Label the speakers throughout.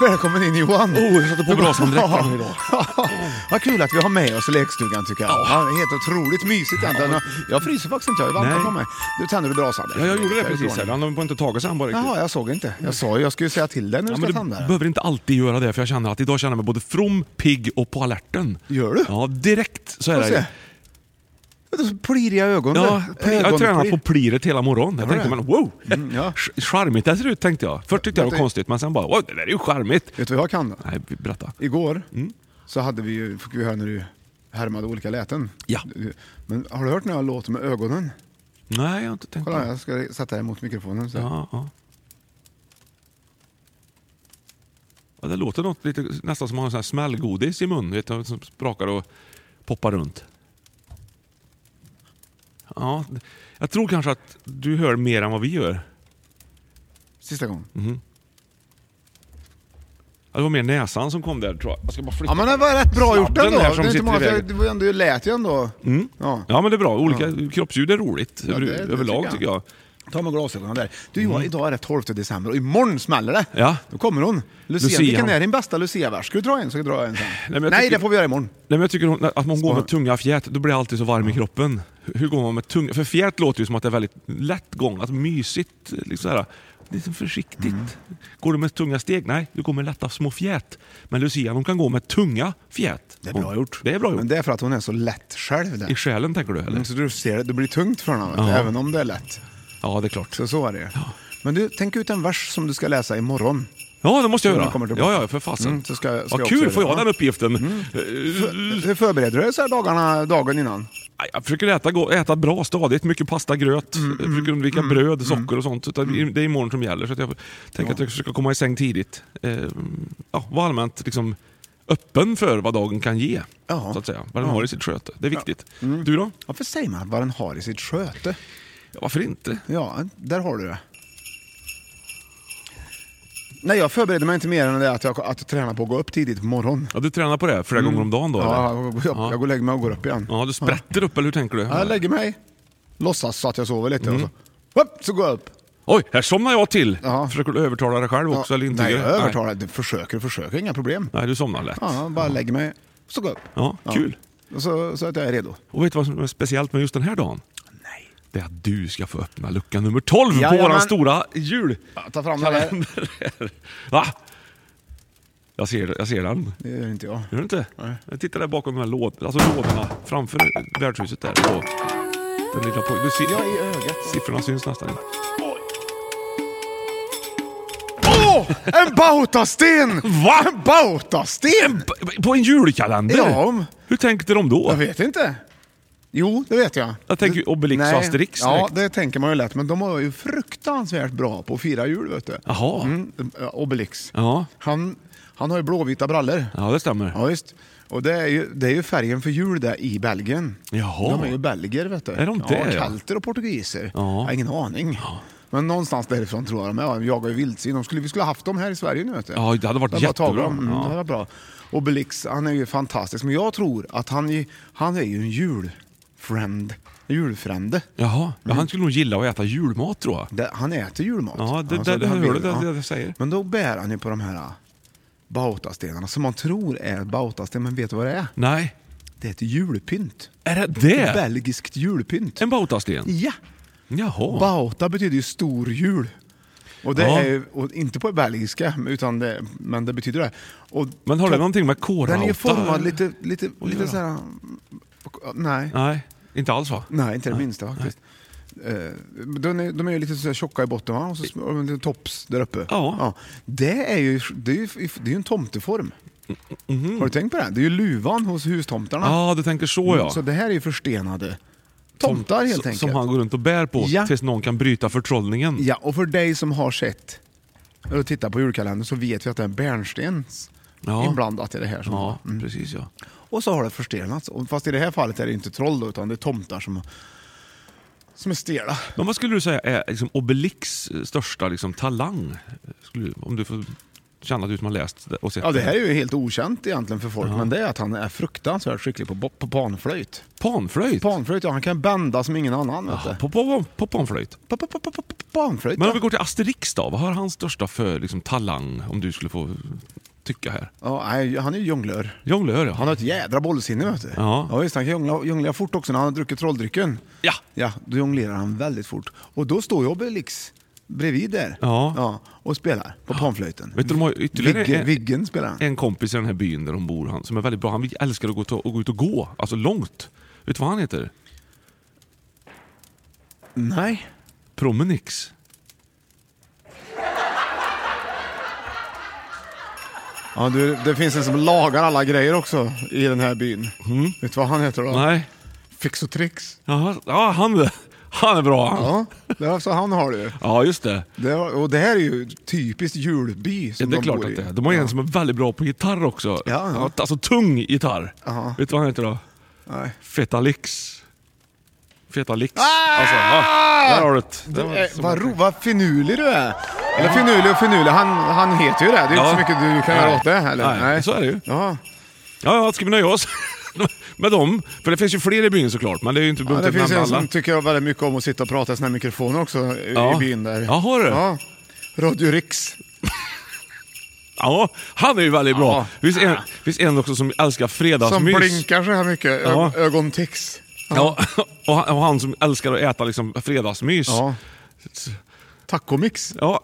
Speaker 1: Välkommen in Johan!
Speaker 2: Oh, jag satte på brasan direkt på dem idag.
Speaker 1: Vad kul att vi har med oss lekstugan tycker jag. Ja, det är helt otroligt mysigt egentligen. Jag fryser faktiskt inte, jag har ju vantar
Speaker 2: Nej.
Speaker 1: på mig. Du tände du brasan? där?
Speaker 2: Ja, jag gjorde det precis.
Speaker 1: Därifrån.
Speaker 2: Här. Han har inte tagit sig än bara riktigt.
Speaker 1: Jaha, jag såg inte. Jag sa ju, jag skulle säga till dig när du
Speaker 2: Ja, men
Speaker 1: ska
Speaker 2: du
Speaker 1: tända den.
Speaker 2: behöver inte alltid göra det, för jag känner att idag känner jag mig både from, pigg och på alerten.
Speaker 1: Gör du?
Speaker 2: Ja, direkt så är
Speaker 1: Får se.
Speaker 2: det.
Speaker 1: Vet du, så pliriga ögon.
Speaker 2: Ja,
Speaker 1: där.
Speaker 2: jag har tränat på
Speaker 1: Ögonplir.
Speaker 2: pliret hela morgonen. Jag tänkte, men wow!
Speaker 1: Mm, ja.
Speaker 2: Sch- Charmigt det ser ut, tänkte jag. Först tyckte jag det var
Speaker 1: Vet du-
Speaker 2: konstigt, men sen bara, wow, det där är ju charmigt!
Speaker 1: Vet du vad jag kan?
Speaker 2: Nej, Mm. berätta.
Speaker 1: Igår så hade vi ju, fick vi höra när du härmade olika läten.
Speaker 2: Ja.
Speaker 1: Men har du hört när jag låter med ögonen?
Speaker 2: Nej, jag har inte tänkt på
Speaker 1: Kolla,
Speaker 2: det.
Speaker 1: jag ska sätta dig mot mikrofonen. Så.
Speaker 2: Ja, ja. Ja, det låter något lite, nästan som att man har sån här smällgodis i munnen, vet du, som sprakar och poppar runt. Ja, jag tror kanske att du hör mer än vad vi gör.
Speaker 1: Sista gången.
Speaker 2: Ja, Det var mer näsan som kom där tror jag. Jag ska bara flytta.
Speaker 1: Ja men det var rätt bra gjort
Speaker 2: Sladden
Speaker 1: ändå. Det
Speaker 2: här
Speaker 1: är
Speaker 2: som
Speaker 1: inte
Speaker 2: sitter
Speaker 1: många,
Speaker 2: i vägen. Mm.
Speaker 1: det var ändå, det lät ju ändå. Ja.
Speaker 2: Ja men det är bra. Olika kroppsljud är roligt
Speaker 1: Ja, det- det
Speaker 2: överlag tycker jag.
Speaker 1: Ta med glasögonen där. Du Johan, idag är det 12 december och imorgon smäller det.
Speaker 2: Mm. Ja.
Speaker 1: Då kommer hon. Lucia,
Speaker 2: Lucia.
Speaker 1: vilken är din bästa Lucia-vers? Ska du dra en så drar jag en sen. Nej,
Speaker 2: men jag tycker-
Speaker 1: det får vi göra imorgon.
Speaker 2: Nej, men jag tycker hon- att man går med tunga fjät, då blir jag alltid så varm i kroppen. Hur hur går man med tunga? För fjät låter ju som att det är väldigt lätt gång, att mysigt. Liksom så här, lite försiktigt.
Speaker 1: Mm.
Speaker 2: Går du med tunga steg? Nej, du går med lätta små fjät. Men Lucia hon kan gå med tunga fjät.
Speaker 1: Det är bra
Speaker 2: Hon-
Speaker 1: gjort.
Speaker 2: Det är bra
Speaker 1: Men
Speaker 2: gjort.
Speaker 1: det är för att hon är så lätt själv. Där.
Speaker 2: I själen tänker du eller?
Speaker 1: Mm, Så du ser det, det blir tungt för henne, vet du,
Speaker 2: Ja.
Speaker 1: även om det är lätt.
Speaker 2: Ja, det är klart.
Speaker 1: Så så är det Men du, tänk ut en vers som du ska läsa imorgon.
Speaker 2: Ja, det måste jag
Speaker 1: Så
Speaker 2: göra.
Speaker 1: hon kommer tillbaka.
Speaker 2: Ja, ja, för fasen.
Speaker 1: Mm, så ska jag- ska jag
Speaker 2: Vad
Speaker 1: också
Speaker 2: kul,
Speaker 1: göra Mm.
Speaker 2: får jag
Speaker 1: det.
Speaker 2: den uppgiften? Eh,
Speaker 1: Hur förbereder du dig så här dagarna, dagen innan?
Speaker 2: Nej, Jag försöker äta, gå- äta bra, stadigt. Mycket pasta, gröt.
Speaker 1: Mm,
Speaker 2: jag försöker undvika bröd, socker och sånt. Utan Det är imorgon som gäller. Så att jag tänker att jag försöker komma i säng tidigt. Eh, ja, vara allmänt liksom, öppen för vad dagen kan ge.
Speaker 1: Ja. Mm.
Speaker 2: Så att säga. Vad den har i sitt sköte. Det är viktigt. Du då?
Speaker 1: Varför säger man vad den har i sitt sköte?
Speaker 2: Ja, varför inte?
Speaker 1: Ja, där har du det. Nej, jag förbereder mig inte mer än det att jag, att jag tränar på att gå upp tidigt på morgonen.
Speaker 2: Ja, du tränar på det flera gånger om dagen då?
Speaker 1: Mm. Ja,
Speaker 2: eller?
Speaker 1: jag, går upp, jag går och lägger mig och går upp igen.
Speaker 2: ja, du sprätter upp eller hur tänker du?
Speaker 1: Ja, jag lägger mig, låtsas så att jag sover lite och så, upp, så går jag upp.
Speaker 2: Oj, här somnar jag till!
Speaker 1: Ja.
Speaker 2: Försöker du övertala dig själv också? eller inte?
Speaker 1: Nej, jag övertalar. Nej. Försöker och försöker, inga problem.
Speaker 2: Nej, du somnar lätt.
Speaker 1: Ja, jag bara lägger mig, så går jag upp.
Speaker 2: Ja, kul.
Speaker 1: Och Så, så att jag är redo.
Speaker 2: Och vet du vad som är speciellt med just den här dagen? Nej. Det är att du ska få öppna lucka nummer 12 på
Speaker 1: Jajamän.
Speaker 2: våran stora jul.
Speaker 1: Ja, ta fram den här.
Speaker 2: Va? Jag ser, jag ser den.
Speaker 1: Det gör inte jag.
Speaker 2: Gör du inte? Nej. Jag tittar där bakom de här låd, alltså lådorna framför värdshuset där. Och den lilla pojken. Du ser,
Speaker 1: Ja, i ögat.
Speaker 2: siffrorna syns nästan inte.
Speaker 1: Åh! En bautasten! Va? En bautasten!
Speaker 2: På- På en julkalender?
Speaker 1: Ja.
Speaker 2: Hur tänkte de då?
Speaker 1: Jag vet inte. Jo, det vet jag.
Speaker 2: Jag tänker ju Obelix och Asterix
Speaker 1: Ja,
Speaker 2: direkt.
Speaker 1: det tänker man ju lätt. Men de var ju fruktansvärt bra på att fira jul, vet du.
Speaker 2: Jaha.
Speaker 1: Mm, eh, Obelix.
Speaker 2: Ja.
Speaker 1: Han, han har ju blåvita brallor.
Speaker 2: Ja, det stämmer.
Speaker 1: Ja, just. Och det är, ju, det är ju färgen för jul där i Belgien.
Speaker 2: Jaha.
Speaker 1: De är ju belger vet du.
Speaker 2: Är de det,
Speaker 1: Ja,
Speaker 2: ja?
Speaker 1: kelter och portugiser.
Speaker 2: Ja.
Speaker 1: Jag har ingen aning. Men någonstans därifrån tror jag de är. Ja, De jagar ju vildsvin. De skulle, vi skulle ha haft dem här i Sverige nu vet du.
Speaker 2: Ja, det hade
Speaker 1: De
Speaker 2: varit
Speaker 1: bara tagit
Speaker 2: jättebra.
Speaker 1: dem. Mm,
Speaker 2: Ja.
Speaker 1: Det hade varit bra. Och Belix, han är ju fantastisk. Men jag tror att han, är- han är ju en julfriend. Julfrände.
Speaker 2: Jaha. Ja, han skulle nog gilla att äta julmat tror jag.
Speaker 1: Det- Han äter julmat.
Speaker 2: Ja, det- det- det
Speaker 1: han
Speaker 2: hör du,
Speaker 1: vill-
Speaker 2: det-
Speaker 1: ja.
Speaker 2: det jag säger.
Speaker 1: Men då bär han ju på de här äh, bautastenarna som man tror är bautasten, men vet du vad det är?
Speaker 2: Nej.
Speaker 1: Det är ett julpynt.
Speaker 2: Är det
Speaker 1: Ett
Speaker 2: det?
Speaker 1: belgiskt julpynt.
Speaker 2: En bautasten?
Speaker 1: Ja!
Speaker 2: Jaha.
Speaker 1: Bauta betyder ju stor jul. Och det
Speaker 2: Ja.
Speaker 1: är ju, och inte på belgiska, utan det, men det betyder det. Och
Speaker 2: Men har det
Speaker 1: topp-
Speaker 2: någonting med kårauta?
Speaker 1: Den är ju formad lite, lite,
Speaker 2: Oj,
Speaker 1: lite
Speaker 2: ja.
Speaker 1: så här... Nej.
Speaker 2: Nej, inte alls va?
Speaker 1: Nej, inte det minsta faktiskt. Eh, De är, de är ju lite så här tjocka i botten va? och så har de en liten tops där uppe.
Speaker 2: Ja.
Speaker 1: Det är ju det är ju, det är ju en tomteform. Har du tänkt på det? Det är ju luvan hos hustomtarna.
Speaker 2: Mm-hmm. Ja, ah, du tänker så ja.
Speaker 1: Mm, Så det här är ju förstenade tomtar helt
Speaker 2: som,
Speaker 1: enkelt.
Speaker 2: som han går runt och bär på
Speaker 1: Ja.
Speaker 2: tills någon kan bryta förtrollningen.
Speaker 1: Ja, och för dig som har sett och tittar på julkalendern så vet vi att det är bärnstens
Speaker 2: Ja.
Speaker 1: inblandat i det här. Som Mm.
Speaker 2: Ja, precis ja.
Speaker 1: Och så har det förstenats. Och Fast i det här fallet är det inte troll då, utan det är tomtar som, som är stela.
Speaker 2: Men vad skulle du säga är liksom Obelix största liksom, talang? Skulle, du- om du får känna att du som har läst det och sett
Speaker 1: Ja, det här är ju helt okänt egentligen för folk, men det är att han är fruktansvärt skicklig på, bo- på panflöjt.
Speaker 2: Panflöjt?
Speaker 1: Panflöjt, ja han kan bända som ingen annan. Vet du.
Speaker 2: På, på, på panflöjt?
Speaker 1: Pa- pa- pa- pa- pa- pa- Panflöjt,
Speaker 2: Men
Speaker 1: ja.
Speaker 2: om vi går till Asterix då, vad har han största för liksom, talang om du skulle få tycka här?
Speaker 1: ja. nej, Han är ju jonglör.
Speaker 2: Jonglör ja.
Speaker 1: Han har ett jädra bollsinne vet du.
Speaker 2: Ja.
Speaker 1: ja visst, han kan jongla, jongla fort också när han har druckit trolldrycken.
Speaker 2: Ja.
Speaker 1: Ja, då jonglerar han väldigt fort. Och då står ju Obelix bredvid där
Speaker 2: Ja.
Speaker 1: och spelar på panflöjten.
Speaker 2: Vet du, de har ju ytterligare
Speaker 1: Viggen,
Speaker 2: en-
Speaker 1: Viggen spelar han.
Speaker 2: en kompis i den här byn där de bor, han, som är väldigt bra. Han älskar att gå, ut och, och gå ut och gå, alltså långt. Vet du vad han heter?
Speaker 1: Nej.
Speaker 2: Promenix.
Speaker 1: Ja, du, det finns en som lagar alla grejer också i den här byn. Vet du vad han heter då?
Speaker 2: Mm. Nej.
Speaker 1: Fix och tricks.
Speaker 2: Jaha, ja, han, han är bra han. Ja.
Speaker 1: Ja, det är alltså han har du.
Speaker 2: just det.
Speaker 1: Det, var- och det här är ju typiskt julby
Speaker 2: Ja,
Speaker 1: som
Speaker 2: det är
Speaker 1: de
Speaker 2: klart
Speaker 1: bor i.
Speaker 2: att det är. De har en som är väldigt bra på gitarr också.
Speaker 1: Ja, ja.
Speaker 2: Alltså tung gitarr.
Speaker 1: Jaha.
Speaker 2: Vet du vad han heter då?
Speaker 1: Nej.
Speaker 2: Fetalix. Fetalix. Alltså, ja, där har du det.
Speaker 1: Det
Speaker 2: Där var
Speaker 1: är,
Speaker 2: det.
Speaker 1: Ah! eh, vad, ro, vad finurlig du är! Eller finurlig och finurlig, han, han heter ju det. Det är
Speaker 2: Ja.
Speaker 1: inte så mycket du kan
Speaker 2: Nej.
Speaker 1: göra åt det heller.
Speaker 2: Nej, så är det ju.
Speaker 1: Ja.
Speaker 2: Ja, ja, ska vi nöja oss med dem? För det finns ju fler i byn såklart, men det är ju inte
Speaker 1: Ja,
Speaker 2: dumt
Speaker 1: det
Speaker 2: att
Speaker 1: finns
Speaker 2: nämna
Speaker 1: en
Speaker 2: alla.
Speaker 1: som tycker väldigt mycket om att sitta och prata i såna här mikrofoner också i-
Speaker 2: Ja.
Speaker 1: i byn där.
Speaker 2: Ja, har du?
Speaker 1: Ja. Radio Rix.
Speaker 2: Ja, han är ju väldigt bra.
Speaker 1: Ja.
Speaker 2: Det finns en, det finns en också som älskar
Speaker 1: Som
Speaker 2: fredagsmys.
Speaker 1: blinkar så här mycket. Ö-
Speaker 2: Ja.
Speaker 1: Ögontics.
Speaker 2: Ja, och han, och han som älskar att äta liksom fredagsmys.
Speaker 1: Ja. Tacomix.
Speaker 2: Ja.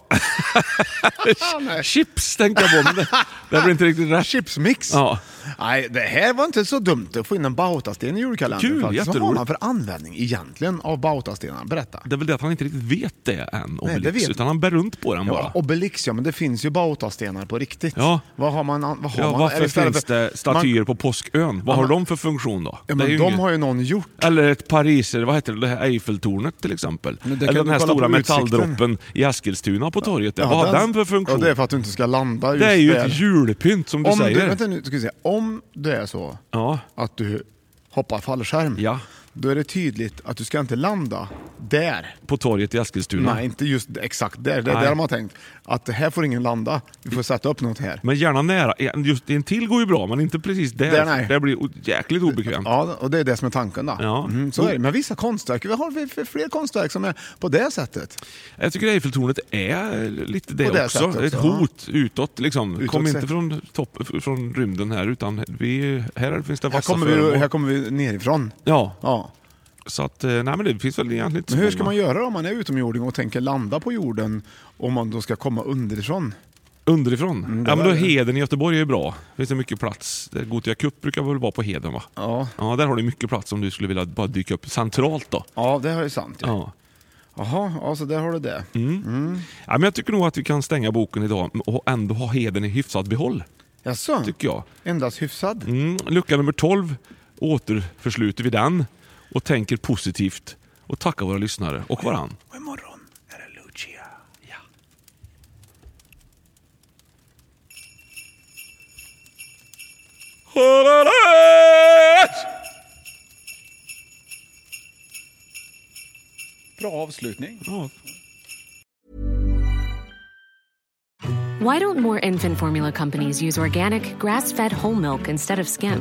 Speaker 2: Chips tänkte jag på, men det, det blir inte riktigt rätt.
Speaker 1: Chipsmix.
Speaker 2: Ja.
Speaker 1: Nej, det här var inte så dumt att få in en bautasten i julkalendern.
Speaker 2: Kul,
Speaker 1: faktiskt. Vad har
Speaker 2: jätteroligt.
Speaker 1: man för användning egentligen av bautastenar? Berätta.
Speaker 2: Det är väl det att han inte riktigt vet det än, Obelix,
Speaker 1: det vet-
Speaker 2: utan han bär runt på den bara.
Speaker 1: Ja, Obelix ja, men det finns ju bautastenar på riktigt.
Speaker 2: Ja.
Speaker 1: Vad har man? an- Vad har
Speaker 2: Ja,
Speaker 1: man? Är
Speaker 2: varför
Speaker 1: istället
Speaker 2: finns
Speaker 1: för-
Speaker 2: det statyer på Påskön? Vad har de för funktion då?
Speaker 1: Ja,
Speaker 2: Det är
Speaker 1: men
Speaker 2: ju
Speaker 1: de
Speaker 2: inget-
Speaker 1: har ju någon gjort.
Speaker 2: Eller ett pariser, vad heter det, det här Eiffeltornet till exempel.
Speaker 1: Men det kan
Speaker 2: Eller den
Speaker 1: du
Speaker 2: här
Speaker 1: kolla
Speaker 2: stora
Speaker 1: på utsikten.
Speaker 2: metalldroppen i Eskilstuna på torget. där. vad har den, för funktion?
Speaker 1: Ja, det är för att du inte ska landa just
Speaker 2: Det är ju
Speaker 1: där.
Speaker 2: ett julpynt som du
Speaker 1: Om
Speaker 2: säger.
Speaker 1: du, vänta nu, ska vi se. Om det är så
Speaker 2: Ja.
Speaker 1: att du hoppar fallskärm,
Speaker 2: Ja.
Speaker 1: då är det tydligt att du ska inte landa där.
Speaker 2: På torget i Eskilstuna.
Speaker 1: Nej, inte just exakt där. Det är
Speaker 2: Mm. Nej.
Speaker 1: där de har tänkt. Att det här får ingen landa. Vi får sätta upp något här.
Speaker 2: Men gärna nära. Just en till går ju bra, men inte precis där.
Speaker 1: Där, nej.
Speaker 2: det blir o- jäkligt obekvämt.
Speaker 1: Ja, och det är det som är tanken då.
Speaker 2: Ja.
Speaker 1: Mm, så är det. Men vissa konstverk, vi har vi- fler konstverk som är på det sättet.
Speaker 2: Jag tycker Eiffeltornet är lite det,
Speaker 1: På det
Speaker 2: också.
Speaker 1: sättet,
Speaker 2: Det är ett
Speaker 1: ja.
Speaker 2: hot utåt. Liksom.
Speaker 1: Utåt
Speaker 2: Kom inte
Speaker 1: sett.
Speaker 2: från, topp, från rymden här, utan vi, här finns det
Speaker 1: Här
Speaker 2: vassa
Speaker 1: kommer, vi,
Speaker 2: föremål.
Speaker 1: här kommer vi nerifrån.
Speaker 2: Ja,
Speaker 1: Ja.
Speaker 2: så att, eh, nej, men det finns väl egentligen inte
Speaker 1: Men
Speaker 2: så
Speaker 1: hur ska man
Speaker 2: många.
Speaker 1: göra om man är utomjording och tänker landa på jorden om man då ska komma underifrån?
Speaker 2: Underifrån?
Speaker 1: Mm, det
Speaker 2: ja, men
Speaker 1: var
Speaker 2: då
Speaker 1: det.
Speaker 2: Heden i Göteborg är ju bra. Finns det mycket plats. Där Gothia Cup brukar väl vara på Heden va?
Speaker 1: Ja.
Speaker 2: Ja, där har du mycket plats om du skulle vilja bara dyka upp centralt då.
Speaker 1: Ja, det är ju sant. Ja. Mm.
Speaker 2: Ja.
Speaker 1: Jaha, ja, så där har du det.
Speaker 2: Ja, men jag tycker nog att vi kan stänga boken idag och ändå ha Heden i hyfsat behåll.
Speaker 1: Jaså?
Speaker 2: Tycker jag.
Speaker 1: Endast hyfsad?
Speaker 2: Mm, lucka nummer 12 återförsluter vi den. och tänker positivt och tackar våra lyssnare och varann.
Speaker 3: Och imorgon är det Lucia. Bra avslutning.
Speaker 1: Oh,
Speaker 2: Ja,
Speaker 4: Why don't more infant formula companies use organic, grass fed whole milk instead of skim?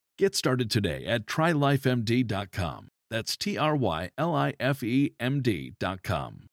Speaker 1: Get started today at um, trylifemd.com. That's T R Y L I F E M D.com.